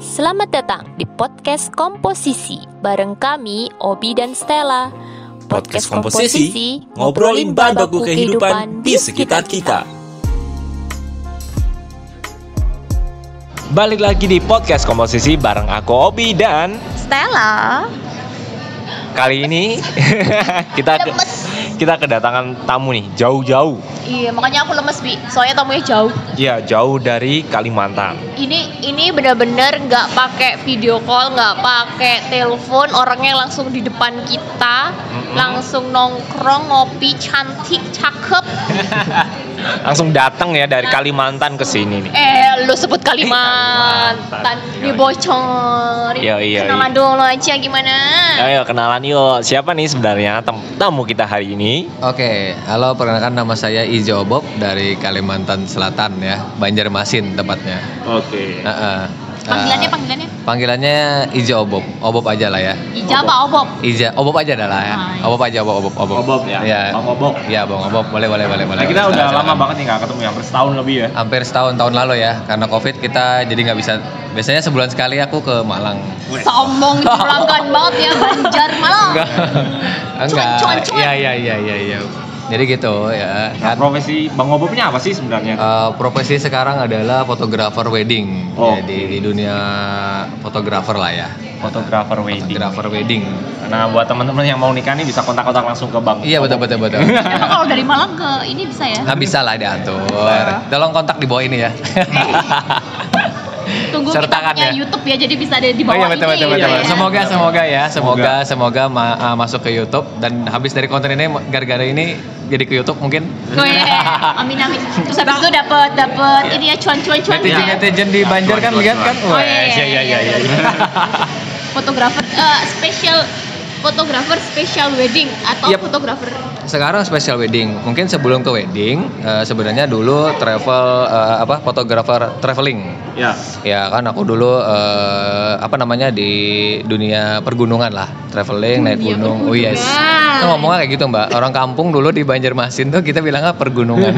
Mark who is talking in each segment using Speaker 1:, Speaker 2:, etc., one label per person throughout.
Speaker 1: Selamat datang di podcast Komposisi bareng kami Obi dan Stella.
Speaker 2: Podcast Komposisi, ngobrolin bahan baku kehidupan di sekitar kita. Balik lagi di podcast komposisi bareng aku Obi dan
Speaker 3: Stella.
Speaker 2: kali ini kita ke- kita kedatangan tamu nih jauh-jauh.
Speaker 3: Iya, makanya aku lemes, Bi. Soalnya tamunya jauh.
Speaker 2: Ya jauh dari Kalimantan.
Speaker 3: Ini ini bener-bener nggak pakai video call, nggak pakai telepon, orangnya langsung di depan kita,
Speaker 2: Mm-mm.
Speaker 3: langsung nongkrong, ngopi, cantik, cakep.
Speaker 2: Langsung datang ya dari Kalimantan ke sini nih.
Speaker 3: Eh, lu sebut
Speaker 2: Kalimantan.
Speaker 3: Kalimantan, dibocor.
Speaker 2: Iya, iya,
Speaker 3: Kenalan
Speaker 2: iya.
Speaker 3: dulu aja gimana?
Speaker 2: Ayo kenalan yuk. Siapa nih sebenarnya tem- tamu kita hari ini?
Speaker 4: Oke, halo perkenalkan nama saya Ijo Bob dari Kalimantan Selatan ya, Banjarmasin tepatnya.
Speaker 2: Oke.
Speaker 4: Heeh.
Speaker 3: Panggilannya
Speaker 4: Eh,
Speaker 3: panggilannya
Speaker 4: panggilannya Ijo Bob, Obob aja lah ya.
Speaker 3: Ija apa Obob?
Speaker 4: Ija, Obob aja dah lah ya.
Speaker 3: Nice.
Speaker 4: Obob aja, Obob, Obob, Obob.
Speaker 2: Obob ya?
Speaker 4: Iya.
Speaker 2: Bang Obob.
Speaker 4: Iya, Bang Obob. Boleh, boleh, boleh, boleh.
Speaker 2: Nah, kita
Speaker 4: Silakan,
Speaker 2: udah lama
Speaker 4: silakan.
Speaker 2: banget nih nggak ketemu ya, hampir setahun lebih ya.
Speaker 4: Hampir setahun tahun lalu ya, karena Covid kita jadi nggak bisa. Biasanya sebulan sekali aku ke Malang.
Speaker 3: Sombong dipulangkan banget ya Banjar malah.
Speaker 4: Enggak. Enggak.
Speaker 3: cuan, cuan.
Speaker 4: Iya, iya, iya, iya, iya. Jadi gitu ya.
Speaker 2: Nah, profesi Bang Obobnya apa sih sebenarnya?
Speaker 4: Eh, profesi sekarang adalah fotografer wedding.
Speaker 2: Oh.
Speaker 4: Jadi di dunia fotografer lah ya.
Speaker 2: Fotografer wedding.
Speaker 4: Fotografer wedding.
Speaker 2: Nah, buat teman-teman yang mau nikah nih bisa kontak-kontak langsung ke Bang.
Speaker 4: Iya betul betul betul.
Speaker 3: Emang kalau dari Malang ke ini bisa ya?
Speaker 4: Nah, bisa lah diatur. Tolong kontak di bawah ini ya.
Speaker 3: Tunggu kita
Speaker 4: Sertakan
Speaker 3: punya
Speaker 4: ya.
Speaker 3: YouTube ya, jadi bisa ada di
Speaker 4: Oh
Speaker 3: bawah
Speaker 4: iya betul
Speaker 3: ini.
Speaker 4: betul betul.
Speaker 3: gitu ya.
Speaker 4: Semoga semoga ya,
Speaker 2: Semoga.
Speaker 4: semoga semoga ma- eh, masuk ke YouTube dan habis dari konten ini gara-gara ini jadi ke YouTube mungkin.
Speaker 3: Gue eh, amin amin. Terus habis itu dapat dapat ini ya cuan-cuan cuan gitu
Speaker 4: Netizen
Speaker 3: ya.
Speaker 4: netizen di Banjar kan lihat kan.
Speaker 3: Oh,
Speaker 4: Wah,
Speaker 3: iya, iya, iya, iya. Fotografer eh, special fotografer special wedding atau
Speaker 4: Yap.
Speaker 3: fotografer
Speaker 4: sekarang special wedding mungkin sebelum ke wedding eh, sebenarnya dulu travel eh, apa fotografer traveling
Speaker 2: Ya.
Speaker 4: ya kan aku dulu eh, apa namanya di dunia pergunungan lah traveling naik
Speaker 3: Dunia
Speaker 4: gunung oh yes
Speaker 3: pergunungan.
Speaker 4: Itu ngomongnya kayak gitu mbak orang kampung dulu di Banjarmasin tuh kita bilangnya pergunungan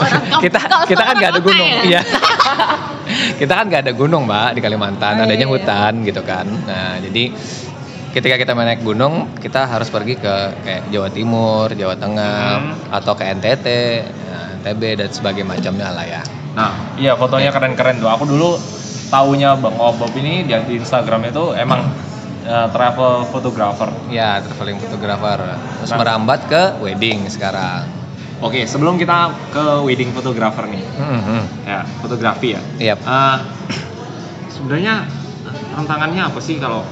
Speaker 3: Orang kampung,
Speaker 4: kita
Speaker 3: kalau
Speaker 4: kita kan
Speaker 3: orang
Speaker 4: nggak ada
Speaker 3: kota
Speaker 4: gunung
Speaker 3: ya?
Speaker 4: iya kita kan nggak ada gunung mbak di Kalimantan
Speaker 3: Oh, iya,
Speaker 4: adanya
Speaker 3: iya.
Speaker 4: hutan gitu kan nah jadi ketika kita mau naik gunung kita harus pergi ke kayak Jawa Timur Jawa Tengah
Speaker 3: Hmm.
Speaker 4: atau ke NTT nah, NTB dan sebagainya macamnya lah ya
Speaker 2: Nah, iya fotonya keren-keren tuh. Aku dulu taunya Bang Obob ini di, di Instagram itu emang eh, travel photographer.
Speaker 4: ya traveling photographer terus
Speaker 2: Nah.
Speaker 4: merambat ke wedding sekarang
Speaker 2: Oke, sebelum kita ke wedding photographer nih. Ya, fotografi ya.
Speaker 4: Iya.
Speaker 2: Eh, sebenarnya eh, tantangannya apa sih kalau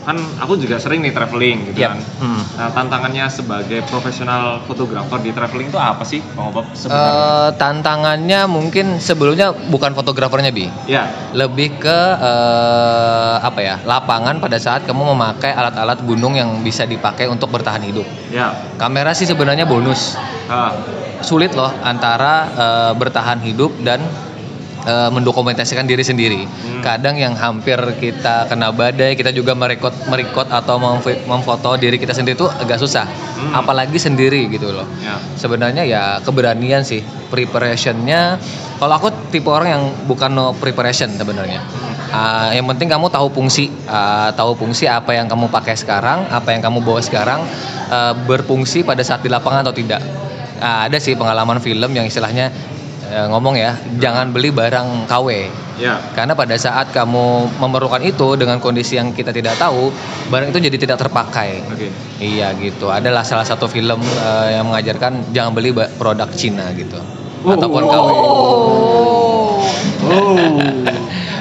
Speaker 2: kan aku juga sering nih traveling gitu
Speaker 4: Yap.
Speaker 2: kan.
Speaker 4: Hmm.
Speaker 2: Nah, tantangannya sebagai profesional fotografer di traveling itu apa sih, Bang Obob sebenarnya?
Speaker 4: Eh, tantangannya mungkin sebelumnya bukan fotografernya bi
Speaker 2: ya,
Speaker 4: lebih ke eh, apa ya lapangan pada saat kamu memakai alat-alat gunung yang bisa dipakai untuk bertahan hidup
Speaker 2: ya.
Speaker 4: kamera sih sebenarnya bonus
Speaker 2: Ah,
Speaker 4: sulit loh antara eh, bertahan hidup dan eh, mendokumentasikan diri sendiri.
Speaker 2: Hmm.
Speaker 4: Kadang yang hampir kita kena badai, kita juga merekod merekod atau memf- memfoto diri kita sendiri itu agak susah.
Speaker 2: Hmm.
Speaker 4: Apalagi sendiri gitu loh.
Speaker 2: ya.
Speaker 4: Sebenarnya ya keberanian sih, preparationnya. Kalau aku tipe orang yang bukan no preparation sebenarnya.
Speaker 2: Hmm.
Speaker 4: Ah, yang penting kamu tahu fungsi, Ah, tahu fungsi apa yang kamu pakai sekarang, apa yang kamu bawa sekarang eh, berfungsi pada saat di lapangan atau tidak. Ah, ada sih pengalaman film yang istilahnya eh, ngomong ya, jangan beli barang KW.
Speaker 2: Ya.
Speaker 4: Karena pada saat kamu memerlukan itu dengan kondisi yang kita tidak tahu, barang itu jadi tidak terpakai.
Speaker 2: Oke.
Speaker 4: Iya gitu. Adalah salah satu film eh, yang mengajarkan jangan beli ba- produk Cina gitu
Speaker 2: Oh.
Speaker 4: ataupun KW.
Speaker 3: Oh.
Speaker 2: Oh.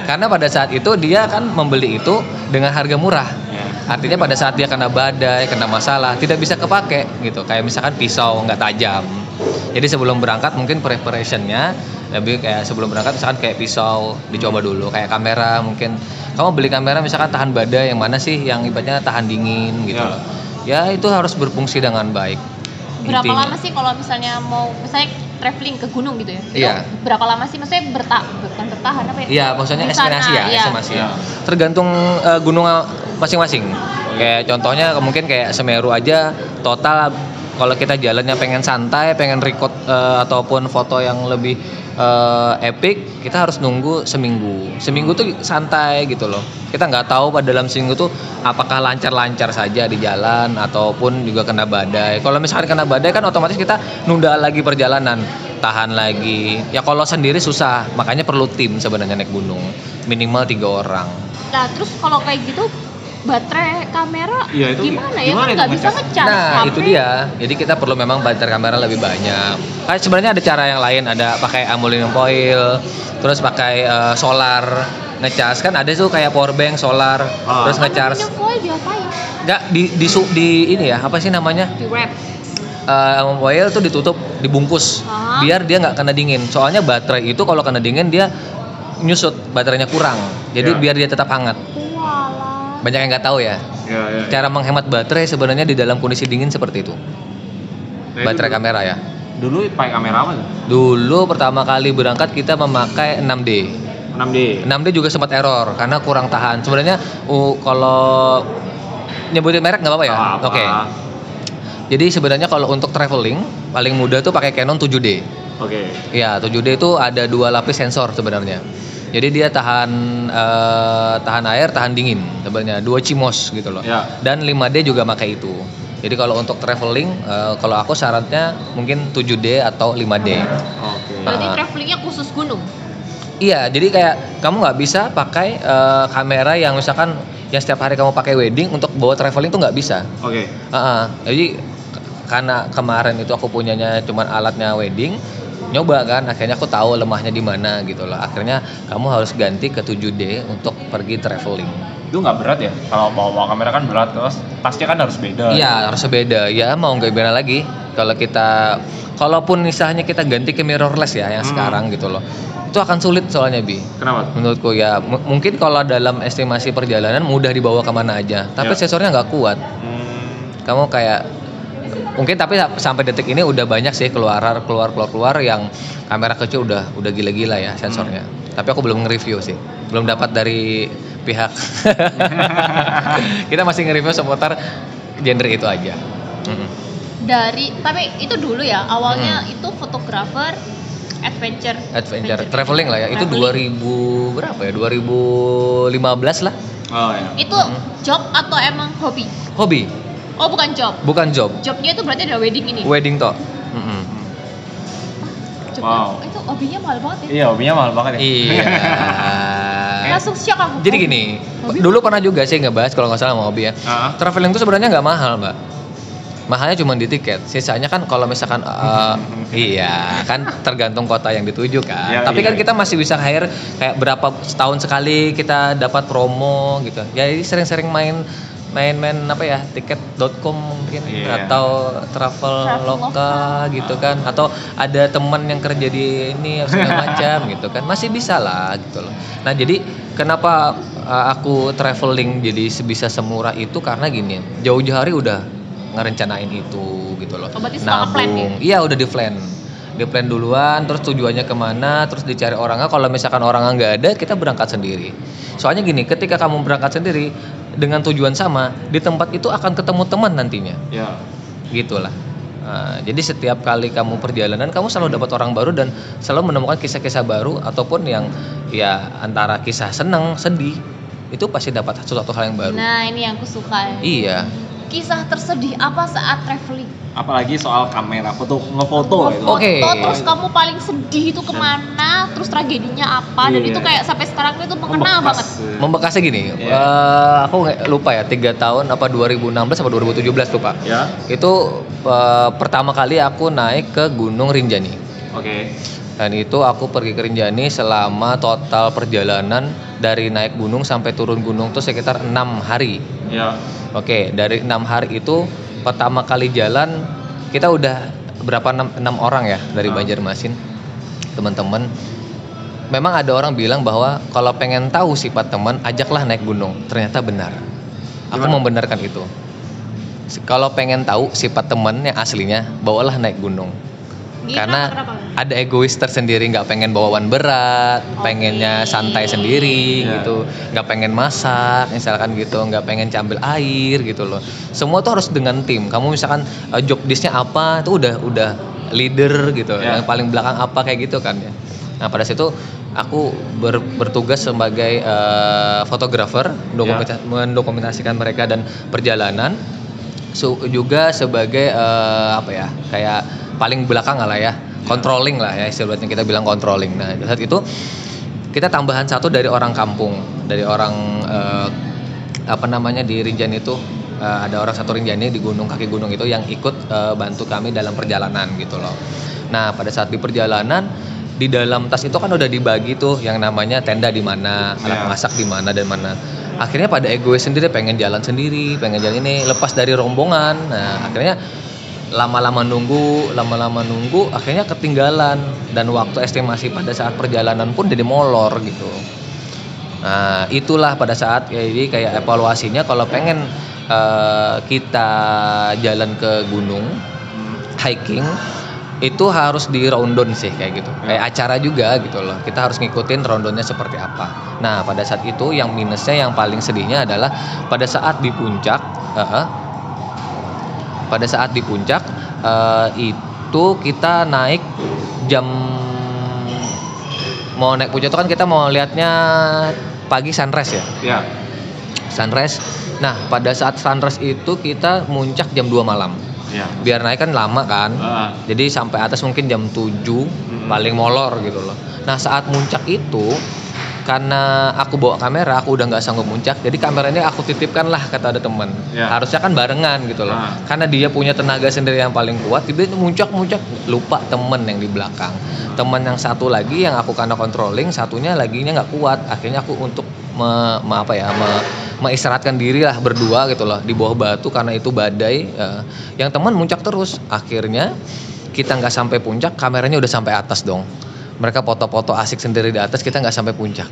Speaker 4: Karena pada saat itu dia kan membeli itu dengan harga murah.
Speaker 2: Ya.
Speaker 4: Artinya pada saat dia kena badai, kena masalah, tidak bisa kepake gitu. Kayak misalkan pisau nggak tajam. Jadi sebelum berangkat mungkin preparationnya lebih kayak sebelum berangkat misalkan kayak pisau dicoba dulu, kayak kamera mungkin kamu beli kamera misalkan tahan badai yang mana sih yang ibaratnya tahan dingin gitu.
Speaker 2: Ya.
Speaker 4: loh. Ya itu harus berfungsi dengan baik.
Speaker 3: Berapa
Speaker 4: Intinya.
Speaker 3: lama sih kalau misalnya mau misalnya traveling ke gunung gitu ya? Itu
Speaker 4: Iya.
Speaker 3: Berapa lama sih maksudnya berta bukan bertahan apa ya?
Speaker 4: Iya, maksudnya
Speaker 3: Di sana,
Speaker 4: estimasi ya,
Speaker 3: iya.
Speaker 4: estimasi ya.
Speaker 2: Iya.
Speaker 4: Tergantung eh, gunung masing-masing. Kayak contohnya ke- mungkin kayak Semeru aja total kalau kita jalannya pengen santai, pengen record eh, ataupun foto yang lebih eh, eh, epic kita harus nunggu seminggu seminggu tuh santai gitu loh kita nggak tahu pada dalam seminggu tuh apakah lancar-lancar saja di jalan ataupun juga kena badai kalau misalkan kena badai kan otomatis kita nunda lagi perjalanan tahan lagi ya kalau sendiri susah makanya perlu tim sebenarnya naik gunung minimal tiga orang
Speaker 3: Nah terus kalau kayak gitu baterai kamera
Speaker 2: Iya, itu
Speaker 3: gimana ya
Speaker 2: gimana
Speaker 3: kan
Speaker 2: itu
Speaker 3: nggak bisa
Speaker 2: ngecas?
Speaker 3: ngecas
Speaker 4: Nah,
Speaker 3: HP.
Speaker 4: itu dia. Jadi kita perlu memang baterai kamera lebih banyak. Nah, sebenarnya ada cara yang lain, ada pakai aluminum foil, terus pakai eh, solar ngecas kan ada tuh kayak power bank solar,
Speaker 2: Ah.
Speaker 3: kan
Speaker 4: terus ngecharge.
Speaker 3: Aluminium foil diapain?
Speaker 4: Enggak di di su- di ini ya, apa sih namanya?
Speaker 3: Di wrap.
Speaker 4: Eh, aluminum foil tuh ditutup, dibungkus
Speaker 3: Ah.
Speaker 4: biar dia nggak kena dingin. Soalnya baterai itu kalau kena dingin dia nyusut, baterainya kurang. Jadi
Speaker 2: Ya.
Speaker 4: biar dia tetap hangat.
Speaker 3: Walah.
Speaker 4: Banyak yang nggak tahu ya.
Speaker 2: Ya, ya.
Speaker 4: Cara menghemat baterai sebenarnya di dalam kondisi dingin seperti itu.
Speaker 2: Nah, itu
Speaker 4: Baterai
Speaker 2: dulu-
Speaker 4: kamera ya.
Speaker 2: Dulu pakai kamera apa tuh?
Speaker 4: Dulu pertama kali berangkat kita memakai 6D.
Speaker 2: 6D.
Speaker 4: 6D juga sempat error karena kurang tahan. Sebenarnya uh, kalau nyebutin merek nggak apa-apa ya?
Speaker 2: Apa?
Speaker 4: Oke. Jadi sebenarnya kalau untuk traveling paling mudah tuh pakai Canon 7D.
Speaker 2: Oke.
Speaker 4: Ya, 7D itu ada dua lapis sensor sebenarnya. Jadi dia tahan eh, tahan air, tahan dingin sebenarnya. Dua CMOS gitu loh.
Speaker 2: Ya.
Speaker 4: Dan 5D juga pakai itu. Jadi kalau untuk traveling eh, kalau aku syaratnya mungkin 7D atau 5D.
Speaker 2: Oke.
Speaker 3: Berarti
Speaker 4: Ah.
Speaker 3: travelingnya khusus gunung.
Speaker 4: Iya, jadi kayak kamu nggak bisa pakai eh, kamera yang misalkan yang setiap hari kamu pakai wedding untuk bawa traveling tuh nggak bisa.
Speaker 2: Oke.
Speaker 4: Heeh. jadi k- karena kemarin itu aku punyanya cuman alatnya wedding, nyoba kan, akhirnya aku tahu lemahnya di mana gitu loh. Akhirnya kamu harus ganti ke 7D untuk pergi traveling.
Speaker 2: Itu nggak berat ya? Kalau bawa, bawa kamera kan berat terus tasnya kan harus beda.
Speaker 4: Iya, harus beda. Ya mau nggak gimana lagi kalau kita kalaupun misalnya kita ganti ke mirrorless ya yang
Speaker 2: Hmm.
Speaker 4: sekarang gitu loh. Itu akan sulit soalnya bi.
Speaker 2: Kenapa?
Speaker 4: menurutku ya M- mungkin kalau dalam estimasi perjalanan mudah dibawa kemana aja
Speaker 2: Ya.
Speaker 4: tapi sensornya nggak kuat
Speaker 2: Hmm,
Speaker 4: kamu kayak mungkin tapi sa- sampai detik ini udah banyak sih keluar keluar keluar keluar yang kamera kecil udah udah gila-gila ya sensornya tapi aku belum nge-review sih belum dapat dari pihak kita masih nge-review seputar genre itu aja Hmm. Mm-mm.
Speaker 3: Dari tapi itu dulu ya awalnya itu fotografer adventure.
Speaker 4: Hmm. adventure traveling lah ya itu
Speaker 3: Traveling.
Speaker 4: 2000 berapa ya 2015 lah
Speaker 2: Oh ya.
Speaker 3: Itu
Speaker 4: Hmm.
Speaker 3: job atau emang hobi?
Speaker 4: hobi
Speaker 3: Oh bukan job.
Speaker 4: bukan job
Speaker 3: Jobnya itu berarti ada wedding ini.
Speaker 4: wedding toh Hmm. Mm-mm.
Speaker 3: Jobnya-
Speaker 2: Wow.
Speaker 3: Itu hobinya mahal banget ya.
Speaker 2: Iya, hobinya mahal banget ya.
Speaker 4: Iya.
Speaker 3: Langsung shock aku.
Speaker 4: Jadi gini,
Speaker 3: Hobi?
Speaker 4: dulu pernah juga sih ngebahas kalau nggak salah sama hobi ya.
Speaker 2: Ah.
Speaker 4: Traveling itu sebenarnya nggak mahal, Mbak. Mahalnya cuma di tiket. Sisanya kan kalau misalkan eh, iya, kan tergantung kota yang dituju kan.
Speaker 2: Ya,
Speaker 4: Tapi
Speaker 2: iya,
Speaker 4: kan
Speaker 2: iya.
Speaker 4: kita masih bisa hire kayak berapa setahun sekali kita dapat promo gitu. Ya, Jadi sering-sering main main-main apa ya tiket.com mungkin
Speaker 2: Iya.
Speaker 4: atau travel
Speaker 3: Traveloka.
Speaker 4: lokal gitu kan atau ada teman yang kerja di ini segala macam gitu kan masih bisa lah gitu loh nah jadi kenapa uh, aku traveling jadi sebisa semurah itu karena gini jauh-jauh hari udah ngerencanain itu gitu loh
Speaker 3: Oh, berarti suka nge-plan
Speaker 4: iya udah di plan di plan duluan terus tujuannya kemana terus dicari orangnya kalau misalkan orangnya nggak ada kita berangkat sendiri soalnya gini ketika kamu berangkat sendiri dengan tujuan sama di tempat itu akan ketemu teman nantinya
Speaker 2: Iya.
Speaker 4: gitulah. Nah, jadi setiap kali kamu perjalanan kamu selalu dapat orang baru dan selalu menemukan kisah-kisah baru ataupun yang ya antara kisah senang, sedih itu pasti dapat sesuatu hal yang baru.
Speaker 3: Nah ini yang aku suka.
Speaker 4: Iya.
Speaker 3: Kisah tersedih apa saat traveling?
Speaker 2: Apalagi soal kamera, foto ngefoto gitu.
Speaker 3: Foto,
Speaker 4: Oke.
Speaker 3: terus kamu paling sedih itu kemana? Terus tragedinya apa? Dan
Speaker 2: Iya.
Speaker 3: itu kayak sampai sekarang itu mengena banget.
Speaker 2: Bekas.
Speaker 4: Membekasnya gini,
Speaker 2: Iya.
Speaker 4: eh, aku nggak- lupa ya tiga tahun apa 2016 apa 2017 lupa.
Speaker 2: Ya.
Speaker 4: Itu eh, pertama kali aku naik ke Gunung Rinjani.
Speaker 2: Oke.
Speaker 4: Dan itu aku pergi ke Rinjani selama total perjalanan dari naik gunung sampai turun gunung tuh sekitar enam hari.
Speaker 2: Ya.
Speaker 4: Oke, dari enam hari itu pertama kali jalan kita udah berapa enam, enam orang ya dari
Speaker 2: Ah.
Speaker 4: Banjarmasin, teman-teman. Memang ada orang bilang bahwa kalau pengen tahu sifat teman, ajaklah naik gunung. Ternyata benar. Aku
Speaker 2: Gimana?
Speaker 4: membenarkan itu. Se- Kalau pengen tahu sifat teman yang aslinya, bawalah naik gunung.
Speaker 3: Gini,
Speaker 4: Karena
Speaker 3: kenapa, kenapa? Oh,
Speaker 4: ada egois tersendiri, nggak pengen bawaan berat,
Speaker 3: Oke. iya.
Speaker 4: pengennya santai sendiri
Speaker 2: Iya.
Speaker 4: gitu, nggak pengen masak, misalkan gitu, nggak pengen cambil air gitu loh. Semua tuh harus dengan tim. Kamu misalkan eh, job desk-nya apa, tuh udah udah leader gitu,
Speaker 2: Iya.
Speaker 4: yang paling belakang apa kayak gitu kan ya. Nah pada situ aku ber- bertugas sebagai eh, fotografer dokumenta- mendokumentasikan mereka dan perjalanan Su- juga sebagai eh, apa ya kayak paling belakang lah ya controlling lah ya istilahnya kita bilang controlling. Nah saat itu kita tambahan satu dari orang kampung dari orang eh, apa namanya di Rinjani itu eh, ada orang satu Rinjani di gunung kaki gunung itu yang ikut eh, bantu kami dalam perjalanan gitu loh. Nah pada saat di perjalanan di dalam tas itu kan udah dibagi tuh yang namanya tenda di mana, alat
Speaker 2: Iya.
Speaker 4: masak di mana dan mana. Akhirnya pada egois sendiri pengen jalan sendiri, pengen jalan ini lepas dari rombongan. Nah akhirnya lama-lama nunggu, lama-lama nunggu, akhirnya ketinggalan dan waktu estimasi pada saat perjalanan pun jadi molor gitu. Nah, itulah pada saat ya, jadi kayak evaluasinya kalau pengen eh, kita jalan ke gunung hiking itu harus di round down sih kayak gitu. Kayak acara juga gitu loh. Kita harus ngikutin round down-nya seperti apa. Nah, pada saat itu yang minusnya yang paling sedihnya adalah pada saat di puncak eh, eh, pada saat di puncak eh, itu kita naik jam mau naik puncak itu kan kita mau lihatnya pagi sunrise ya
Speaker 2: Ya.
Speaker 4: sunrise nah pada saat sunrise itu kita muncak jam 2 malam
Speaker 2: Ya.
Speaker 4: biar naik kan lama kan
Speaker 2: Ah.
Speaker 4: jadi sampai atas mungkin jam 7 paling molor gitu loh nah saat muncak itu karena aku bawa kamera aku udah nggak sanggup muncak jadi kamera ini aku titipkan lah kata ada temen
Speaker 2: Ya.
Speaker 4: harusnya kan barengan gitu loh
Speaker 2: Ah.
Speaker 4: karena dia punya tenaga sendiri yang paling kuat tiba-tiba muncak muncak lupa temen yang di belakang temen yang satu lagi yang aku karena controlling satunya laginya nggak kuat akhirnya aku untuk me, me- apa ya me- mengistirahatkan diri lah berdua gitu loh di bawah batu karena itu badai eh, yang teman muncak terus akhirnya kita nggak sampai puncak kameranya udah sampai atas dong mereka foto-foto asik sendiri di atas kita nggak sampai puncak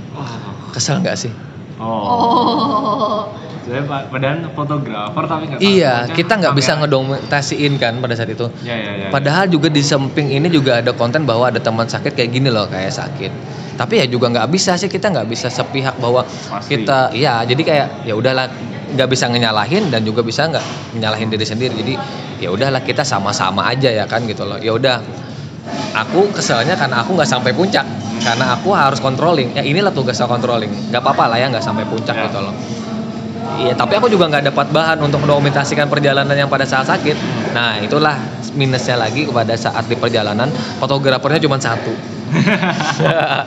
Speaker 4: kesel nggak sih
Speaker 2: Oh.
Speaker 3: Oh.
Speaker 2: Saya pa- padahal fotografer tapi nggak.
Speaker 4: iya
Speaker 2: sampai.
Speaker 4: kita nggak bisa
Speaker 2: Kamera.
Speaker 4: ngedokumentasiin kan pada saat itu
Speaker 2: Ya ya ya.
Speaker 4: Padahal juga di samping ini juga ada konten bahwa ada teman sakit kayak gini loh kayak sakit. Tapi ya juga nggak bisa sih kita nggak bisa sepihak bahwa
Speaker 2: Pasti.
Speaker 4: kita ya jadi kayak ya udahlah nggak bisa ngenyalahin dan juga bisa nggak menyalahin diri sendiri. Jadi ya udahlah kita sama-sama aja ya kan gitu loh. Ya udah aku keselnya karena aku nggak sampai puncak karena aku harus controlling. Ya inilah tugas aku controlling. Nggak apa-apa lah ya nggak sampai puncak
Speaker 2: Ya.
Speaker 4: gitu loh. Iya, tapi aku juga nggak dapat bahan untuk mendokumentasikan perjalanan yang pada saat sakit. Nah, itulah minusnya lagi pada saat di perjalanan fotografernya cuma satu.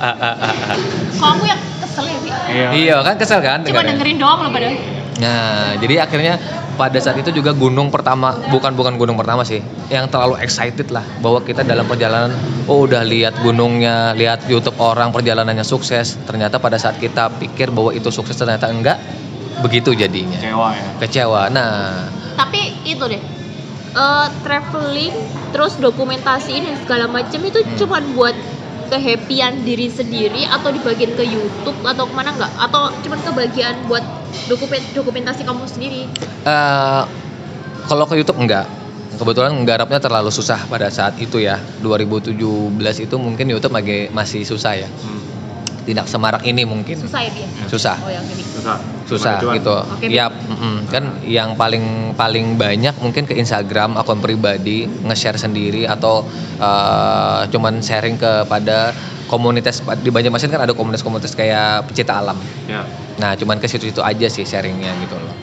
Speaker 3: Kalau aku yang kesel ya, Bi.
Speaker 2: Iya.
Speaker 4: iya kan kesel kan?
Speaker 3: Cuma
Speaker 4: dengarnya?
Speaker 3: dengerin doang loh padahal.
Speaker 4: Nah, jadi akhirnya pada saat itu juga gunung pertama, bukan bukan gunung pertama sih, yang terlalu excited lah bahwa kita dalam perjalanan, oh udah lihat gunungnya, lihat YouTube orang perjalanannya sukses, ternyata pada saat kita pikir bahwa itu sukses ternyata enggak, begitu jadinya.
Speaker 2: Kecewa ya.
Speaker 4: Kecewa. Nah,
Speaker 3: Tapi itu deh. eh, traveling terus dokumentasiin dan segala macem itu
Speaker 4: Hmm.
Speaker 3: cuman buat kehappian diri sendiri atau dibagiin ke YouTube atau kemana nggak atau cuman kebagian buat dokumen dokumentasi kamu sendiri
Speaker 4: Eh, kalau ke YouTube enggak. Kebetulan nggarapnya terlalu susah pada saat itu ya. 2017 itu mungkin YouTube lagi- masih susah ya.
Speaker 2: Hmm.
Speaker 4: Tidak semarak ini mungkin.
Speaker 3: susah ya dia
Speaker 4: Susah.
Speaker 3: oh yang ini
Speaker 2: Susah.
Speaker 4: Susah
Speaker 2: Cuman-
Speaker 4: gitu.
Speaker 3: Oke.
Speaker 4: Yap, mm-mm. kan yang paling paling banyak mungkin ke Instagram akun pribadi nge-share sendiri atau eh, cuman sharing kepada komunitas di Banjarmasin kan ada komunitas-komunitas kayak pecinta alam.
Speaker 2: Ya.
Speaker 4: Nah, cuman ke situ-situ aja sih sharingnya gitu loh.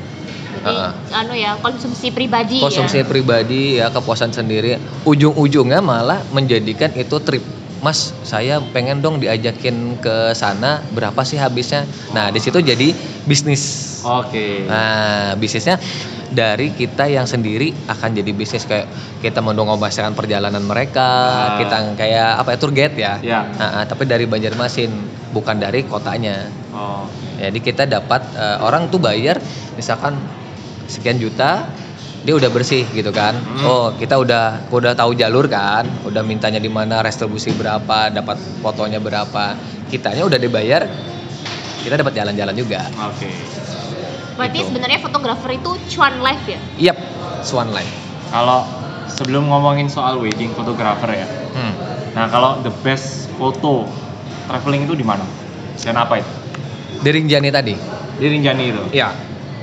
Speaker 3: jadi
Speaker 4: Heeh.
Speaker 3: anu ya konsumsi
Speaker 2: Iya.
Speaker 3: pribadi
Speaker 4: Ah. konsumsi
Speaker 3: ya
Speaker 4: pribadi ya kepuasan sendiri ujung-ujungnya malah menjadikan itu trip Mas saya pengen dong diajakin ke sana berapa sih habisnya nah di situ jadi bisnis
Speaker 2: Oke.
Speaker 4: nah bisnisnya dari kita yang sendiri akan jadi bisnis kayak kita mendokumentasikan perjalanan mereka
Speaker 2: Ah.
Speaker 4: kita kayak apa ya tour guide ya
Speaker 2: Ya.
Speaker 4: Nah, tapi dari Banjarmasin bukan dari kotanya
Speaker 2: Oh.
Speaker 4: jadi kita dapat eh, orang tuh bayar misalkan sekian juta dia udah bersih gitu kan.
Speaker 2: Hmm.
Speaker 4: Oh, kita udah udah tahu jalur kan, udah mintanya di mana, restribusi berapa, dapat fotonya berapa. Kitanya udah dibayar, kita dapat jalan-jalan juga.
Speaker 2: Oke.
Speaker 3: berarti
Speaker 4: gitu.
Speaker 3: sebenarnya fotografer itu cuan life ya
Speaker 4: Yap, Swan Life.
Speaker 2: Kalau sebelum ngomongin soal wedding fotografer ya.
Speaker 4: Hmm.
Speaker 2: Nah, kalau the best foto traveling itu di mana? Dan apa itu?
Speaker 4: Di Rinjani tadi.
Speaker 2: Di Rinjani itu.
Speaker 4: Iya.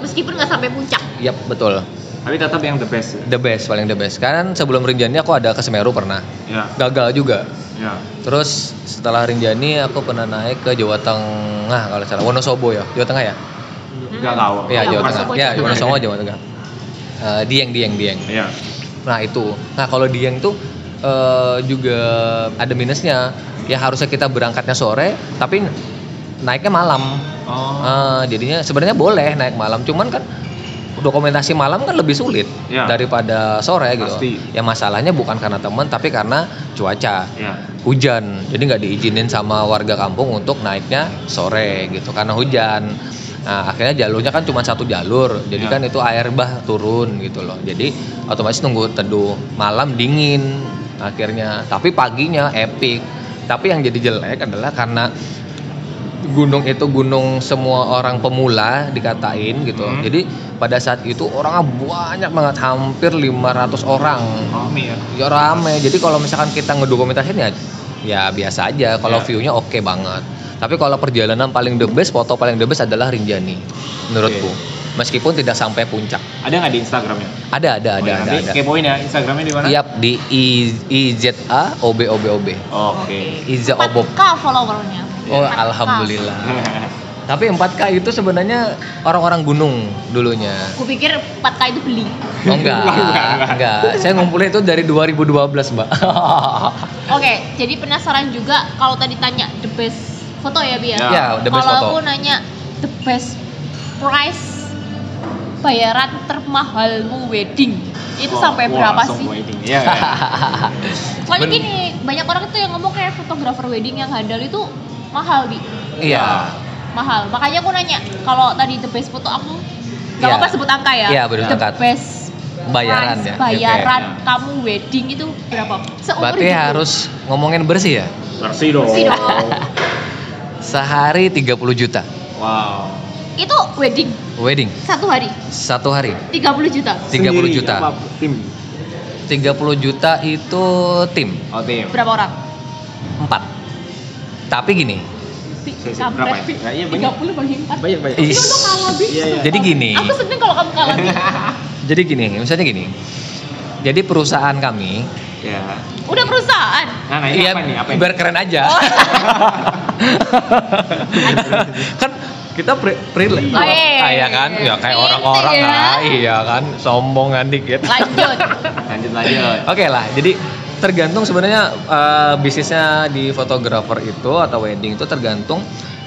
Speaker 3: meskipun nggak sampai puncak
Speaker 4: Yap, betul.
Speaker 2: Tapi tetap yang the best.
Speaker 4: The best, paling the best. Kan sebelum Rinjani aku ada ke Semeru pernah.
Speaker 2: Ya.
Speaker 4: Gagal juga.
Speaker 2: Ya. Ya.
Speaker 4: Terus setelah Rinjani aku pernah naik ke Jawa Tengah kalau nggak salah Wonosobo ya, Jawa Tengah ya?
Speaker 2: Enggak tahu.
Speaker 4: Iya
Speaker 3: Ya,
Speaker 4: Jawa
Speaker 3: Wonosobo,
Speaker 4: Tengah. Iya
Speaker 3: Jawa
Speaker 4: Wonosobo Jawa Tengah. Eh, Dieng Dieng Dieng.
Speaker 2: Iya.
Speaker 4: Nah itu. Nah kalau Dieng tuh eh, juga ada minusnya. Ya harusnya kita berangkatnya sore, tapi naiknya malam.
Speaker 2: Oh.
Speaker 4: Eh, jadinya sebenarnya boleh naik malam, cuman kan dokumentasi malam kan lebih sulit
Speaker 2: Iya.
Speaker 4: daripada sore gitu.
Speaker 2: Pasti.
Speaker 4: Ya masalahnya bukan karena teman, tapi karena cuaca
Speaker 2: Iya.
Speaker 4: hujan jadi nggak diizinin sama warga kampung untuk naiknya sore gitu karena hujan nah akhirnya jalurnya kan cuma satu jalur
Speaker 2: Ya.
Speaker 4: jadi kan itu air bah turun gitu loh jadi otomatis nunggu teduh malam dingin akhirnya tapi paginya epic tapi yang jadi jelek adalah karena gunung itu gunung semua orang pemula dikatain gitu
Speaker 2: Hmm.
Speaker 4: jadi pada saat itu orangnya banyak banget hampir 500 orang
Speaker 2: Rame ya.
Speaker 4: Ya rame. Jadi kalau misalkan kita ngedokumentasin ya ya biasa aja. Kalau
Speaker 2: Ya.
Speaker 4: view-nya oke banget. Tapi kalau perjalanan paling the best, foto paling the best adalah Rinjani menurutku. Meskipun tidak sampai puncak.
Speaker 2: Ada nggak di Instagramnya?
Speaker 4: Ada ada ada
Speaker 2: Oh, ya,
Speaker 4: ada.
Speaker 2: nanti
Speaker 4: ada. Iya.
Speaker 2: Kepoin ya Instagramnya di mana?
Speaker 4: Yap, di I- IZA OBOBOB.
Speaker 2: Oke.
Speaker 4: Iza Obob.
Speaker 3: K followernya.
Speaker 2: Ya.
Speaker 4: Oh,
Speaker 3: 4K.
Speaker 4: alhamdulillah. Tapi 4K itu sebenarnya orang-orang gunung dulunya.
Speaker 3: Gue pikir 4K itu beli.
Speaker 4: Oh enggak,
Speaker 2: Enggak, enggak.
Speaker 4: enggak. Saya ngumpulin itu dari 2012, Mbak.
Speaker 3: Oke, jadi penasaran juga kalau tadi tanya the best foto ya Bia.
Speaker 2: Ya,
Speaker 4: ya, the best
Speaker 3: kalau
Speaker 4: foto.
Speaker 3: aku nanya the best price bayaran termahalmu wedding itu
Speaker 2: Wah,
Speaker 3: sampai
Speaker 2: wah,
Speaker 3: berapa
Speaker 2: langsung
Speaker 3: sih?
Speaker 2: waiting. Iya. iya.
Speaker 3: Soalnya
Speaker 4: Ben-
Speaker 3: gini, banyak orang tuh yang ngomong kayak fotografer wedding yang handal itu mahal, Bi.
Speaker 4: Iya.
Speaker 3: Mahal. Makanya aku nanya, kalau tadi the best foto aku Gak
Speaker 4: Iya.
Speaker 3: apa-apa sebut angka ya.
Speaker 4: Iya, bener,
Speaker 3: The
Speaker 4: angka.
Speaker 3: best
Speaker 4: Bayaran
Speaker 3: price
Speaker 4: ya.
Speaker 3: Bayaran
Speaker 2: Oke.
Speaker 3: kamu wedding itu berapa? Seumur
Speaker 4: Berarti
Speaker 3: hidup.
Speaker 4: harus ngomongin bersih ya?
Speaker 2: Bersih dong.
Speaker 3: Bersih dong.
Speaker 4: Sehari 30 juta.
Speaker 2: Wow.
Speaker 3: Itu wedding
Speaker 4: Wedding
Speaker 3: satu hari
Speaker 4: satu hari
Speaker 3: 30 juta.
Speaker 4: 30
Speaker 2: Sendiri apa
Speaker 4: juta.
Speaker 2: tim?
Speaker 4: 30 juta itu tim
Speaker 2: Oh, tim.
Speaker 3: Berapa orang?
Speaker 4: 4. Tapi gini,
Speaker 3: Bi,
Speaker 2: Sesi berapa
Speaker 3: kampret,
Speaker 2: ya?
Speaker 3: Bi.
Speaker 2: Nah, iya, banyak.
Speaker 3: 30 bagi 4.
Speaker 2: Banyak banyak.
Speaker 4: Ih.
Speaker 3: Ini untuk kalah, Bi.
Speaker 2: Iya, iya.
Speaker 4: Jadi gini.
Speaker 3: Aku seneng kalau kamu kalah, Bi.
Speaker 4: jadi gini, misalnya gini. Jadi perusahaan kami,
Speaker 2: Ya.
Speaker 3: Udah perusahaan. Oh,
Speaker 2: Nah, nah ini
Speaker 4: iya
Speaker 2: apa nih? Apa ini?
Speaker 4: biar keren aja. kan kita pre freelance.
Speaker 3: Oh, iya.
Speaker 4: Ah, iya kan? Ya kayak
Speaker 3: Gitu
Speaker 4: orang-orang
Speaker 3: ya.
Speaker 4: lah, iya kan? Sombongan dikit.
Speaker 3: Lanjut.
Speaker 2: Lanjut lanjut.
Speaker 4: Oke lah, jadi tergantung sebenarnya eh, bisnisnya di fotografer itu atau wedding itu tergantung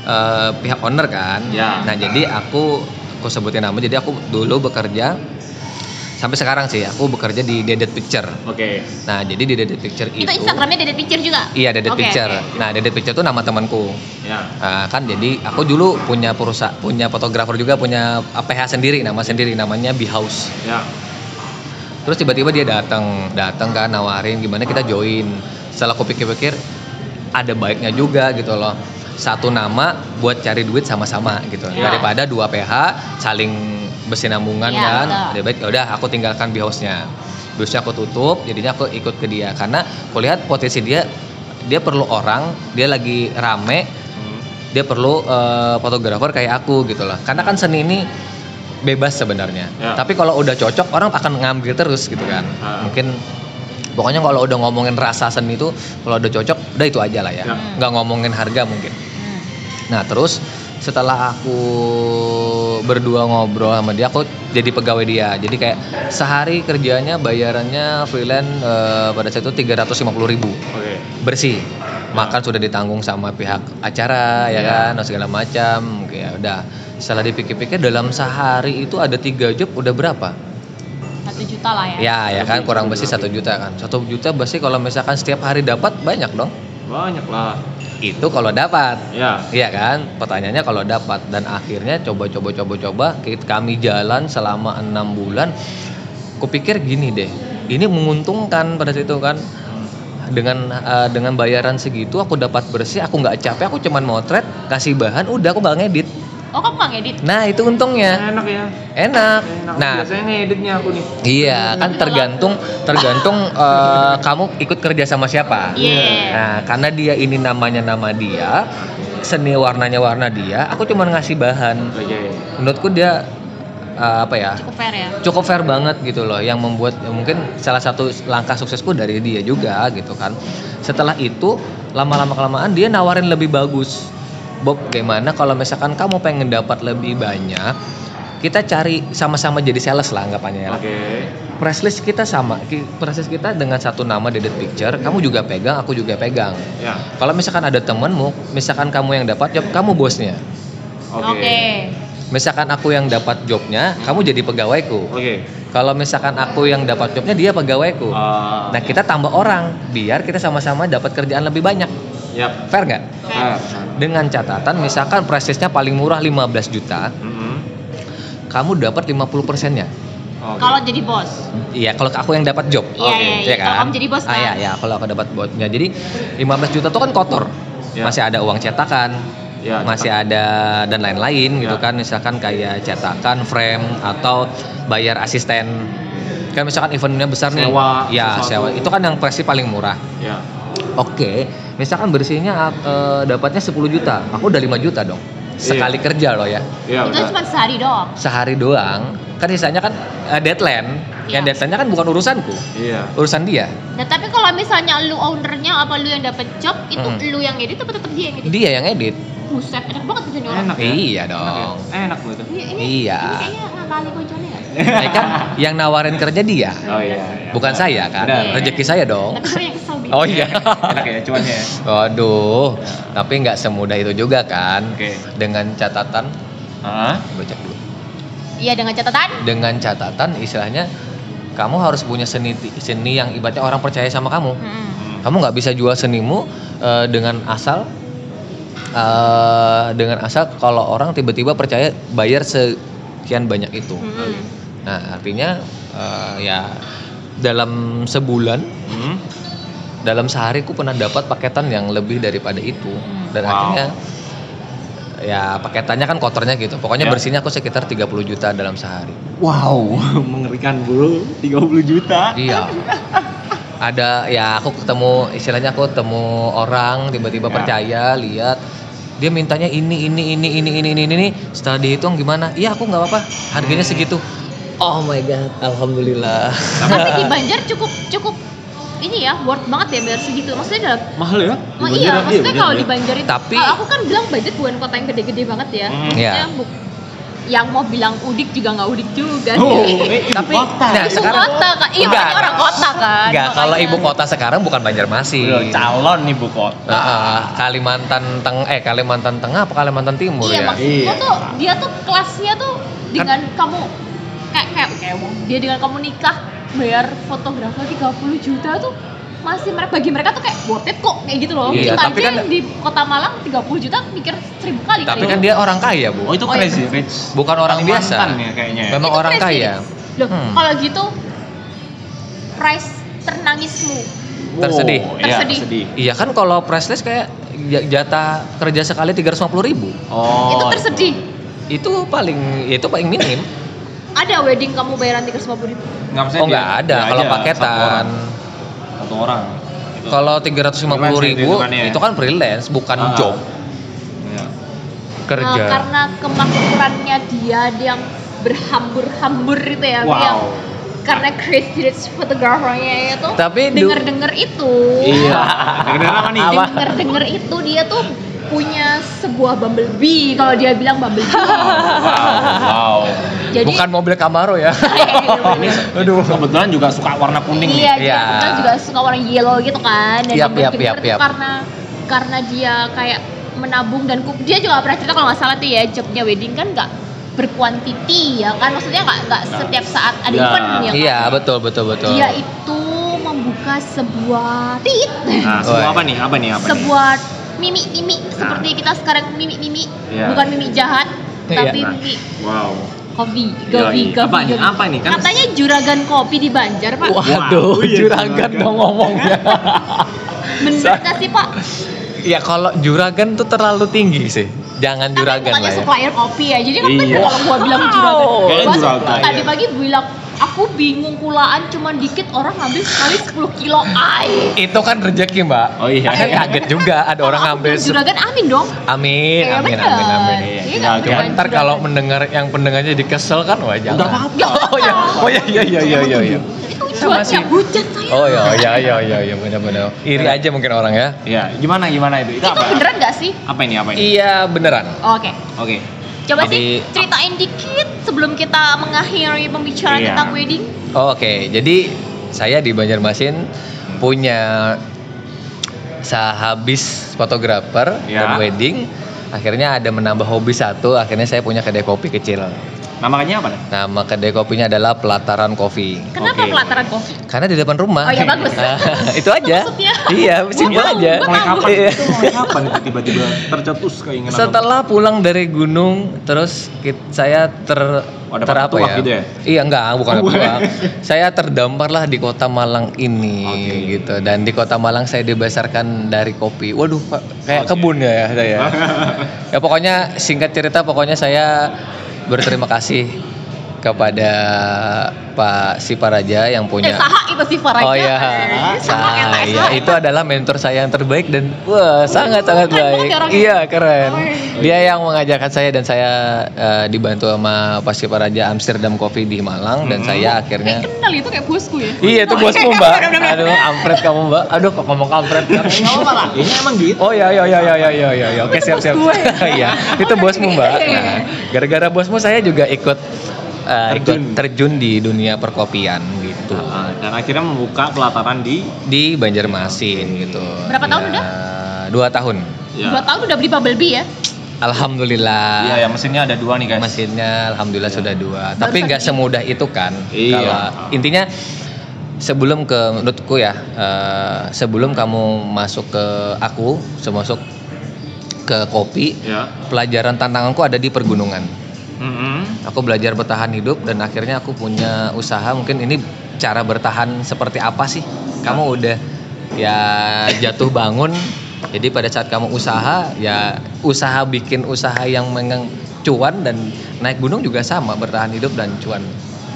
Speaker 4: eh, pihak owner kan.
Speaker 2: Ya.
Speaker 4: Nah jadi aku aku sebutin nama. Jadi aku dulu bekerja sampai sekarang sih aku bekerja di Dedet Picture.
Speaker 2: Oke.
Speaker 4: Nah jadi di Dedet Picture itu,
Speaker 3: Itu Instagramnya Dede Picture juga?
Speaker 4: iya Dedet
Speaker 3: Oke,
Speaker 4: Picture.
Speaker 3: oke.
Speaker 4: Nah Dedet Picture itu nama temanku.
Speaker 2: Ya.
Speaker 4: Ah, kan jadi aku dulu punya perusahaan punya fotografer juga punya APH sendiri nama sendiri namanya Be House.
Speaker 2: Ya.
Speaker 4: Terus tiba-tiba dia datang, datang kan nawarin gimana kita join. Setelah aku pikir-pikir ada baiknya juga gitu loh. Satu nama buat cari duit sama-sama gitu.
Speaker 2: Ya.
Speaker 4: Daripada dua PH saling bersinambungan
Speaker 3: Ya,
Speaker 4: kan.
Speaker 3: betul.
Speaker 4: Lebih baik udah aku tinggalkan biosnya. Biosnya aku tutup, jadinya aku ikut ke dia karena aku lihat potensi dia dia perlu orang, dia lagi rame,
Speaker 2: Hmm.
Speaker 4: dia perlu eh, fotografer kayak aku gitu lah karena kan seni ini bebas sebenarnya
Speaker 2: Ya.
Speaker 4: tapi kalau udah cocok orang akan ngambil terus gitu kan
Speaker 2: Ah.
Speaker 4: mungkin pokoknya kalau udah ngomongin rasa seni itu kalau udah cocok udah itu aja lah ya
Speaker 2: Ya.
Speaker 4: nggak ngomongin harga mungkin
Speaker 3: Hmm.
Speaker 4: nah terus setelah aku berdua ngobrol sama dia aku jadi pegawai dia jadi kayak sehari kerjanya bayarannya freelance eh, pada saat itu 350.000 ribu
Speaker 2: Oke.
Speaker 4: bersih makan sudah ditanggung sama pihak acara ya
Speaker 2: Iya.
Speaker 4: kan dan segala macam Oke, ya udah setelah dipikir-pikir dalam sehari itu ada tiga job udah berapa
Speaker 3: Satu juta lah ya.
Speaker 4: ya ya kan
Speaker 2: Lebih,
Speaker 4: kurang
Speaker 2: lebih,
Speaker 4: bersih satu
Speaker 2: lebih.
Speaker 4: juta kan satu juta bersih kalau misalkan setiap hari dapat banyak dong
Speaker 2: Banyak lah.
Speaker 4: itu kalau dapat
Speaker 2: Ya.
Speaker 4: Iya kan, pertanyaannya kalau dapat dan akhirnya coba-coba coba-coba kita- kami jalan selama enam bulan. Kupikir gini deh, ini menguntungkan pada situ kan dengan eh, dengan bayaran segitu aku dapat bersih aku nggak capek aku cuman motret kasih bahan udah aku nggak ngedit
Speaker 3: Oh, kamu nggak ngedit?
Speaker 4: nah itu untungnya
Speaker 2: Enak ya.
Speaker 4: enak
Speaker 2: Enak.
Speaker 4: nah
Speaker 2: Biasanya ngeditnya aku nih.
Speaker 4: iya kan tergantung tergantung eh, kamu ikut kerja sama siapa
Speaker 3: Iya.
Speaker 4: nah karena dia ini namanya nama dia seni warnanya warna dia aku cuman ngasih bahan
Speaker 2: Oke.
Speaker 4: menurutku dia eh, apa ya
Speaker 3: cukup fair ya
Speaker 4: cukup fair banget gitu loh yang membuat ya mungkin salah satu langkah sukses pun dari dia juga gitu kan setelah itu lama-lama kelamaan dia nawarin lebih bagus Bob gimana kalau misalkan kamu pengen dapat lebih banyak kita cari sama-sama jadi sales lah anggapannya ya
Speaker 2: Oke.
Speaker 4: press list kita sama ki- press list kita dengan satu nama di picture kamu juga pegang aku juga pegang
Speaker 2: Ya.
Speaker 4: kalau misalkan ada temenmu misalkan kamu yang dapat job kamu bosnya
Speaker 2: Oke.
Speaker 4: misalkan aku yang dapat jobnya kamu jadi pegawaiku
Speaker 2: Oke.
Speaker 4: kalau misalkan aku yang dapat jobnya dia pegawaiku.
Speaker 2: Ah,
Speaker 4: Nah kita tambah orang biar kita sama-sama dapat kerjaan lebih banyak.
Speaker 2: Yap.
Speaker 4: Fair nggak?
Speaker 2: Ah,
Speaker 4: Dengan catatan misalkan prosesnya paling murah 15 juta,
Speaker 2: mm-mm.
Speaker 4: kamu dapat 50 persennya.
Speaker 2: Oke.
Speaker 3: kalau jadi bos
Speaker 4: Iya kalau aku yang dapat job.
Speaker 3: Iya, iya, iya. Kalau kamu jadi bos,
Speaker 4: Ah,
Speaker 3: kan?
Speaker 4: iya, iya, kalau aku dapat bosnya. Jadi 15 juta itu kan kotor.
Speaker 2: Ya.
Speaker 4: Masih ada uang cetakan,
Speaker 2: Ya,
Speaker 4: masih
Speaker 2: cetak.
Speaker 4: ada dan lain-lain gitu
Speaker 2: Ya.
Speaker 4: kan misalkan kayak cetakan frame atau bayar asisten kan misalkan eventnya besar nih
Speaker 2: Sewa,
Speaker 4: ya
Speaker 2: sesuatu.
Speaker 4: sewa itu kan yang presi paling murah
Speaker 2: Ya.
Speaker 4: oke misalkan bersihnya eh, dapatnya 10 juta aku udah 5 juta dong sekali kerja loh ya
Speaker 2: Iya,
Speaker 3: itu
Speaker 2: udah.
Speaker 3: cuma sehari doang
Speaker 4: sehari doang kan sisanya kan eh, deadline yang
Speaker 3: Ya.
Speaker 4: deadline-nya kan bukan urusanku
Speaker 2: Iya.
Speaker 4: urusan dia
Speaker 3: nah tapi kalau misalnya lu ownernya apa lu yang dapet job itu
Speaker 4: Hmm.
Speaker 3: lu yang edit apa tetap dia yang edit
Speaker 4: dia yang edit
Speaker 3: buset enak banget bisa nyolong
Speaker 2: Enak ya.
Speaker 4: iya
Speaker 2: Enak ya?
Speaker 4: dong
Speaker 2: Enak loh itu.
Speaker 3: ini, ini,
Speaker 4: Iya.
Speaker 3: ini kayaknya ngakali bojone gak sih
Speaker 4: Ya kan yang nawarin kerja dia
Speaker 2: Oh iya. iya.
Speaker 4: bukan saya kan
Speaker 2: Benar.
Speaker 4: rezeki saya dong
Speaker 3: tapi gue yang kesel gitu
Speaker 4: oh iya
Speaker 2: Enak ya cuannya ya.
Speaker 4: Waduh, tapi nggak semudah itu juga kan?
Speaker 2: Oke.
Speaker 4: Dengan catatan,
Speaker 2: Ah.
Speaker 4: baca dulu.
Speaker 3: iya dengan catatan
Speaker 4: Dengan catatan, istilahnya kamu harus punya seni seni yang ibaratnya orang percaya sama kamu.
Speaker 3: Mm-mm.
Speaker 2: Hmm.
Speaker 4: Kamu nggak bisa jual senimu eh, dengan asal eh, dengan asal kalau orang tiba-tiba percaya bayar sekian banyak itu.
Speaker 3: Mm-mm.
Speaker 4: Nah, artinya eh, ya dalam sebulan
Speaker 2: Hmm.
Speaker 4: dalam sehari ku pernah dapat paketan yang lebih daripada itu dan
Speaker 2: Wow.
Speaker 4: akhirnya ya paketannya kan kotornya gitu pokoknya
Speaker 2: Ya.
Speaker 4: bersihnya aku sekitar 30 juta dalam sehari
Speaker 2: Wow, mengerikan bro, 30 juta.
Speaker 4: iya ada ya aku ketemu istilahnya aku ketemu orang
Speaker 2: Ya.
Speaker 4: tiba-tiba percaya lihat dia mintanya ini ini ini ini ini ini ini setelah dihitung gimana iya aku nggak apa-apa harganya
Speaker 2: Hmm.
Speaker 4: segitu oh my god alhamdulillah
Speaker 3: tapi di Banjar cukup cukup ini ya worth banget ya bayar segitu maksudnya dalam
Speaker 2: Mahal ya?
Speaker 3: Ma- iya, maksudnya kalau di Banjar itu,
Speaker 4: Tapi-
Speaker 3: kalau aku kan bilang Banjar bukan kota yang gede-gede banget ya.
Speaker 2: Hmm.
Speaker 3: Maksudnya
Speaker 4: Iya.
Speaker 3: bu- yang mau bilang udik juga nggak udik juga
Speaker 2: Oh,
Speaker 3: sih.
Speaker 2: eh, ibu
Speaker 4: Tapi-
Speaker 2: kota.
Speaker 4: nah,
Speaker 3: ibu
Speaker 4: iya, sekarang-
Speaker 3: kota kan, iya
Speaker 4: Enggak.
Speaker 3: makanya orang kota kan.
Speaker 4: nggak kalau
Speaker 3: makanya.
Speaker 4: ibu kota sekarang bukan
Speaker 2: Bro,
Speaker 4: Banjarmasin
Speaker 2: calon ibu kota.
Speaker 4: Ah, ah, Kalimantan Tengah eh Kalimantan Tengah apa Kalimantan Timur
Speaker 3: Iya
Speaker 4: ya?
Speaker 3: maksudnya
Speaker 2: Iya.
Speaker 3: tuh dia tuh kelasnya tuh dengan kamu kayak kayak kayak dia dengan kamu nikah bayar fotografer 30 juta tuh masih mereka bagi mereka tuh kayak worth it kok kayak gitu loh.
Speaker 4: Iya,
Speaker 3: Kita
Speaker 4: tapi
Speaker 3: aja
Speaker 4: kan-
Speaker 3: yang di kota Malang 30 juta mikir seribu kali gitu.
Speaker 4: Tapi
Speaker 3: kali.
Speaker 4: kan dia orang kaya,
Speaker 2: Oh
Speaker 4: Bu.
Speaker 2: itu
Speaker 3: Oh, iya.
Speaker 2: crazy rich.
Speaker 4: Bukan orang
Speaker 2: Kalimantan
Speaker 4: biasa.
Speaker 2: ya kayaknya. ya.
Speaker 4: Memang
Speaker 3: Itu
Speaker 4: orang
Speaker 3: price
Speaker 4: kaya.
Speaker 3: fix. Loh,
Speaker 4: Hmm.
Speaker 3: kalau gitu price ternangismu.
Speaker 2: Wow,
Speaker 4: Tersedih.
Speaker 2: Iya,
Speaker 3: Tersedih.
Speaker 2: tersedih.
Speaker 4: Iya kan kalau press list kayak j- jatah kerja sekali 350 ribu
Speaker 2: Oh.
Speaker 3: itu tersedih.
Speaker 4: itu paling itu paling minim
Speaker 3: Ada wedding kamu bayaran 350 ribu. Eh,
Speaker 2: Enggak
Speaker 4: oh nggak ada kalau paketan
Speaker 2: Satu orang. Gitu.
Speaker 4: kalau 350 ribu
Speaker 2: Freelance ya,
Speaker 4: itu kan freelance bukan
Speaker 2: Ah.
Speaker 4: job
Speaker 2: Iya.
Speaker 4: kerja
Speaker 3: Nah, karena kemakmurannya dia, dia yang berhambur-hambur itu ya. yang-
Speaker 2: Wow.
Speaker 3: karena Chris Rich fotografernya itu
Speaker 4: Tapi du-
Speaker 3: denger-denger itu.
Speaker 2: Iya. Kedengeran apa nih?
Speaker 3: Denger-denger itu dia tuh punya sebuah bumblebee kalau dia bilang bumblebee.
Speaker 2: Wow.
Speaker 3: Jadi
Speaker 4: bukan mobil Camaro ya
Speaker 2: Aduh. Kebetulan juga suka warna kuning
Speaker 3: Iya,
Speaker 2: nih.
Speaker 3: dia
Speaker 4: Iya.
Speaker 3: kebetulan juga suka warna yellow gitu kan. Dan
Speaker 4: Yap,
Speaker 3: yang
Speaker 4: yap,
Speaker 3: bener-bener
Speaker 4: yap, yap.
Speaker 3: karena karena dia kayak menabung dan ku- dia juga nggak pernah cerita kalau nggak salah tuh ya jobnya wedding kan nggak berkuantiti ya kan maksudnya nggak nggak
Speaker 2: Nah.
Speaker 3: setiap saat ada
Speaker 2: Ya.
Speaker 3: event ya kan?
Speaker 4: iya betul betul betul
Speaker 3: dia itu membuka sebuah tit
Speaker 2: Nah, semua
Speaker 4: Woi.
Speaker 2: apa nih? Apa nih? Apa nih?
Speaker 3: sebuah mimi mimi seperti kita sekarang mimi mimi
Speaker 2: Iya.
Speaker 3: bukan mimi jahat
Speaker 4: Iya.
Speaker 3: tapi
Speaker 2: Nah.
Speaker 3: mimi
Speaker 2: Wow.
Speaker 3: kopi
Speaker 2: Yoi.
Speaker 3: kopi kopi
Speaker 2: Apa nih?
Speaker 3: kopi.
Speaker 2: Apa nih? Kan-
Speaker 3: katanya juragan kopi di Banjar pak
Speaker 4: waduh
Speaker 2: Wow, iya,
Speaker 4: juragan
Speaker 2: juragan.
Speaker 4: mau ngomongnya
Speaker 3: bener nggak sih pak Kan
Speaker 4: Ya kalau juragan tuh terlalu tinggi sih. Jangan
Speaker 3: Tapi
Speaker 4: juragan
Speaker 3: bukannya
Speaker 4: lah ya.
Speaker 3: supplier kopi ya jadi kan
Speaker 2: Iya.
Speaker 3: bener kalau gua bilang juragan
Speaker 4: Wow.
Speaker 3: gua
Speaker 2: Kayaknya
Speaker 3: suka-
Speaker 2: juragan,
Speaker 3: tadi
Speaker 2: iya.
Speaker 3: pagi bilang aku bingung kulaan cuman dikit orang ngambil sekali 10 kilo air
Speaker 4: Itu kan rezeki mbak.
Speaker 2: Oh iya.
Speaker 4: Kan kaget juga ada orang ngambil. se-
Speaker 3: juragan amin dong
Speaker 4: Amin,
Speaker 3: Iya,
Speaker 4: amin,
Speaker 3: bener.
Speaker 4: amin, amin.
Speaker 2: Iya,
Speaker 3: Iya,
Speaker 2: nah,
Speaker 3: kan,
Speaker 4: Ya,
Speaker 3: bukan
Speaker 4: ntar kalau
Speaker 3: juragan.
Speaker 4: mendengar yang pendengarnya dikesel kan wah jangan.
Speaker 2: Udah apa-apa.
Speaker 4: Oh ya, oh
Speaker 2: iya,
Speaker 4: ya, ya, ya, ya, ya, ya.
Speaker 3: itu cuaca hujan saya
Speaker 4: Oh ya, ya, ya, ya, ya, benar-benar. Iri aja mungkin orang ya.
Speaker 2: Iya, gimana gimana itu? Itu,
Speaker 3: itu
Speaker 2: apa?
Speaker 3: beneran gak sih
Speaker 2: Apa ini? Apa ini?
Speaker 4: Iya beneran.
Speaker 3: oke
Speaker 2: Oke.
Speaker 3: coba
Speaker 4: Jadi-
Speaker 3: sih ceritain dikit sebelum kita mengakhiri pembicaraan
Speaker 2: Iya.
Speaker 3: tentang wedding
Speaker 4: Oh, Oke, jadi saya di Banjarmasin punya sehabis fotografer
Speaker 2: Ya.
Speaker 4: dan wedding. Akhirnya ada menambah hobi satu, akhirnya saya punya kedai kopi kecil.
Speaker 2: Namanya apa? nih?
Speaker 4: Nama kedai kopinya adalah Pelataran Coffee.
Speaker 3: kenapa
Speaker 2: Oke.
Speaker 3: pelataran kopi
Speaker 4: Karena di depan rumah.
Speaker 3: Oh, ya, bagus.
Speaker 4: itu aja.
Speaker 3: Maksudnya?
Speaker 4: Iya, simpel
Speaker 3: tahu,
Speaker 4: aja.
Speaker 3: gua
Speaker 2: Mulai kapan?
Speaker 4: Iya.
Speaker 2: Itu mulai kapan itu tiba-tiba tercetus keinginan? untuk-
Speaker 4: Setelah pulang dari gunung, terus ki- saya ter
Speaker 2: Oh, dapat
Speaker 4: ter apa
Speaker 2: petuah gitu ya?
Speaker 4: Iya enggak, bukan
Speaker 2: Oh, bukan.
Speaker 4: petuah. saya terdampar lah di kota Malang ini
Speaker 2: Oke.
Speaker 4: gitu. Dan di kota Malang saya dibesarkan dari kopi. Waduh, Pak, kayak
Speaker 2: Oke.
Speaker 4: kebun ya saya. ya pokoknya singkat cerita pokoknya saya berterima kasih kepada Pak Siparaja yang
Speaker 3: eh
Speaker 4: punya
Speaker 3: saha itu sih Faraja
Speaker 4: Oh iya,
Speaker 3: Eh, saha
Speaker 4: Saya.
Speaker 3: eta, saha
Speaker 4: itu adalah mentor saya yang terbaik dan wah sangat
Speaker 3: keren
Speaker 4: sangat
Speaker 3: banget
Speaker 4: baik.
Speaker 3: ya orangnya.
Speaker 4: Iya keren.
Speaker 3: Oh,
Speaker 4: Dia yang mengajarkan saya dan saya eh, dibantu sama Pasiparaja Amsterdam Coffee di Malang dan
Speaker 2: Mhm.
Speaker 4: saya
Speaker 3: kayak
Speaker 4: akhirnya.
Speaker 3: Eh, kenal itu kayak bosku ya
Speaker 4: Iya itu bosmu mbak. Aduh kampret kamu mbak. Aduh kok ngomong kampret.
Speaker 2: Nggak apa-apa lah. Ini emang gitu.
Speaker 4: Oh ya ya ya ya ya ya ya, ya. Oke siap siap. Iya itu bosmu mbak.
Speaker 3: Iya,
Speaker 4: Nah, gara-gara bosmu saya juga ikut eh, ikut
Speaker 2: Terjun.
Speaker 4: terjun di dunia perkopian gitu
Speaker 2: Nah, dan akhirnya membuka pelataran di
Speaker 4: di Banjarmasin gitu.
Speaker 3: Berapa tahun udah?
Speaker 4: Dua tahun.
Speaker 3: dua tahun udah beli bubble bee ya
Speaker 4: Alhamdulillah.
Speaker 2: Iya, ya mesinnya ada dua nih guys.
Speaker 4: Mesinnya alhamdulillah sudah dua. Tapi
Speaker 3: satu
Speaker 4: nggak
Speaker 3: ini.
Speaker 4: semudah itu kan.
Speaker 2: Iya.
Speaker 4: Kalau intinya sebelum ke menurutku ya, eh, sebelum kamu masuk ke aku, semasuk ke kopi,
Speaker 2: Ya.
Speaker 4: pelajaran tantanganku ada di pergunungan.
Speaker 2: Mm-mm.
Speaker 4: Aku belajar bertahan hidup dan akhirnya aku punya usaha mungkin ini cara bertahan seperti apa sih? Kamu udah ya jatuh bangun. Jadi pada saat kamu usaha ya usaha bikin usaha yang mengen cuan dan naik gunung juga sama bertahan hidup dan cuan.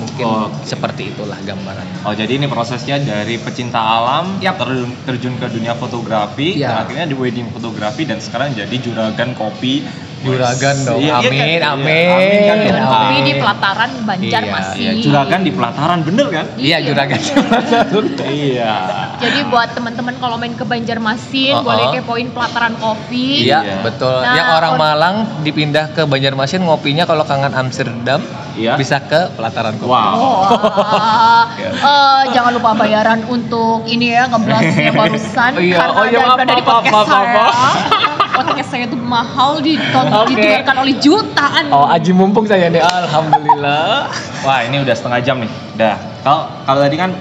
Speaker 4: Mungkin
Speaker 2: Oke.
Speaker 4: seperti itulah gambaran.
Speaker 2: Oh jadi ini prosesnya dari pecinta alam
Speaker 4: Yap.
Speaker 2: terjun, terjun ke dunia fotografi,
Speaker 4: Iya.
Speaker 2: dan akhirnya di wedding fotografi dan sekarang jadi juragan kopi.
Speaker 4: Juragan dong. Amin,
Speaker 2: Iya,
Speaker 4: amin.
Speaker 2: amin, kan?
Speaker 4: Iya,
Speaker 2: Amin.
Speaker 3: tapi di pelataran Banjarmasin
Speaker 2: Iya, juragan di pelataran bener kan?
Speaker 4: Iya, juragan.
Speaker 2: iya.
Speaker 3: jadi buat teman-teman kalau main ke Banjarmasin
Speaker 4: Oh, oh.
Speaker 3: boleh kepoin pelataran kopi
Speaker 4: Iya,
Speaker 2: Iya.
Speaker 4: betul.
Speaker 3: Nah,
Speaker 4: yang orang
Speaker 3: on-
Speaker 4: Malang dipindah ke Banjarmasin ngopinya kalau kangen Amsterdam
Speaker 2: Iya.
Speaker 4: bisa ke pelataran kopi.
Speaker 2: Wow.
Speaker 3: Wah, ah,
Speaker 4: Iya.
Speaker 3: eh, jangan lupa bayaran untuk ini ya ngeblastnya barusan
Speaker 4: Iya,
Speaker 3: karena
Speaker 4: oh iya,
Speaker 3: dari-
Speaker 4: maaf,
Speaker 3: dari
Speaker 4: maaf,
Speaker 3: podcast
Speaker 4: maaf, maaf,
Speaker 3: saya.
Speaker 4: maaf.
Speaker 3: Podcast saya itu mahal di
Speaker 4: Oke.
Speaker 3: didengarkan oleh jutaan.
Speaker 4: Oh, aji mumpung saya nih. Alhamdulillah.
Speaker 2: Wah ini udah setengah jam nih. Dah. Kalau kalau tadi kan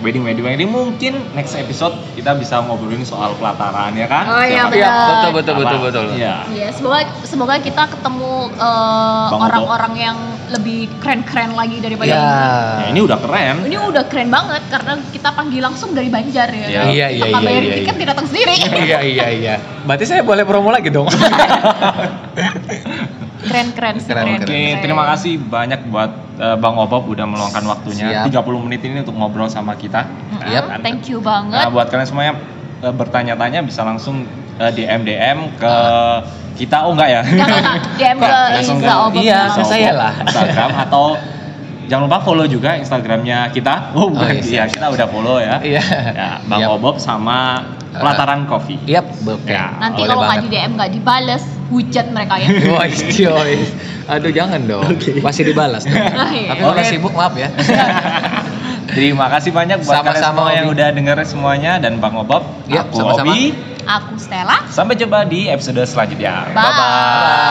Speaker 2: wedding wedding wedding mungkin next episode kita bisa ngobrolin soal pelataran ya kan?
Speaker 3: Oh, iya,
Speaker 2: Siapa-
Speaker 4: Iya,
Speaker 3: Benar.
Speaker 4: betul betul betul
Speaker 2: Apa?
Speaker 4: betul.
Speaker 2: Iya.
Speaker 3: Iya, semoga semoga kita ketemu eh,
Speaker 2: Bang
Speaker 3: orang-orang yang lebih keren-keren lagi daripada
Speaker 4: Ya.
Speaker 2: Ya, ini udah keren.
Speaker 3: ini. Ini udah keren banget karena kita panggil langsung dari Banjar ya.
Speaker 2: Iya,
Speaker 4: iya, iya,
Speaker 3: Tanpa
Speaker 4: iya,
Speaker 3: bayarin
Speaker 4: iya,
Speaker 3: tiket
Speaker 4: iya.
Speaker 3: dia datang sendiri.
Speaker 4: Iya iya iya. Berarti saya boleh promo lagi dong.
Speaker 2: Iya.
Speaker 3: Keren-keren sih,
Speaker 4: Keren,
Speaker 3: keren.
Speaker 2: Oke, terima kasih banyak buat eh, Bang Obob udah meluangkan waktunya
Speaker 4: Siap.
Speaker 2: 30 menit ini untuk ngobrol sama kita.
Speaker 3: Mm-mm,
Speaker 4: Yap.
Speaker 3: Thank you
Speaker 2: Nah,
Speaker 3: banget.
Speaker 2: buat kalian semuanya eh, bertanya-tanya bisa langsung eh, DM DM ke kita oh enggak ya?
Speaker 3: Jangan DM ke
Speaker 2: Enggak, langsung
Speaker 3: Liza
Speaker 2: ke-
Speaker 3: Obok.
Speaker 4: Iya,
Speaker 2: Bisa
Speaker 4: ke
Speaker 2: Obob
Speaker 4: saya lah.
Speaker 2: Instagram atau jangan lupa follow juga Instagramnya kita. Oh, bukan.
Speaker 4: iya,
Speaker 2: Iya, kita udah follow ya.
Speaker 4: Iya.
Speaker 2: Ya, Bang
Speaker 4: Yap.
Speaker 2: Obob sama
Speaker 4: Eh,
Speaker 2: Pelataran Coffee.
Speaker 4: Yap, oke.
Speaker 2: Ya,
Speaker 3: Nanti
Speaker 4: Boleh
Speaker 3: kalau nggak
Speaker 4: banget.
Speaker 3: di DM nggak dibales, hujat mereka ya.
Speaker 4: Woi, coy. Aduh jangan dong. Masih dibalas dong.
Speaker 3: Oke.
Speaker 4: Tapi kalau
Speaker 2: Oke.
Speaker 4: sibuk maaf ya.
Speaker 2: Terima kasih banyak buat kalian
Speaker 4: Sama-sama,
Speaker 2: semua yang
Speaker 4: Obi.
Speaker 2: udah denger semuanya dan Bang Obob.
Speaker 4: Yap,
Speaker 2: aku
Speaker 4: sama-sama.
Speaker 2: Obi.
Speaker 3: Aku Stella.
Speaker 2: Sampai jumpa di episode selanjutnya.
Speaker 3: Bye.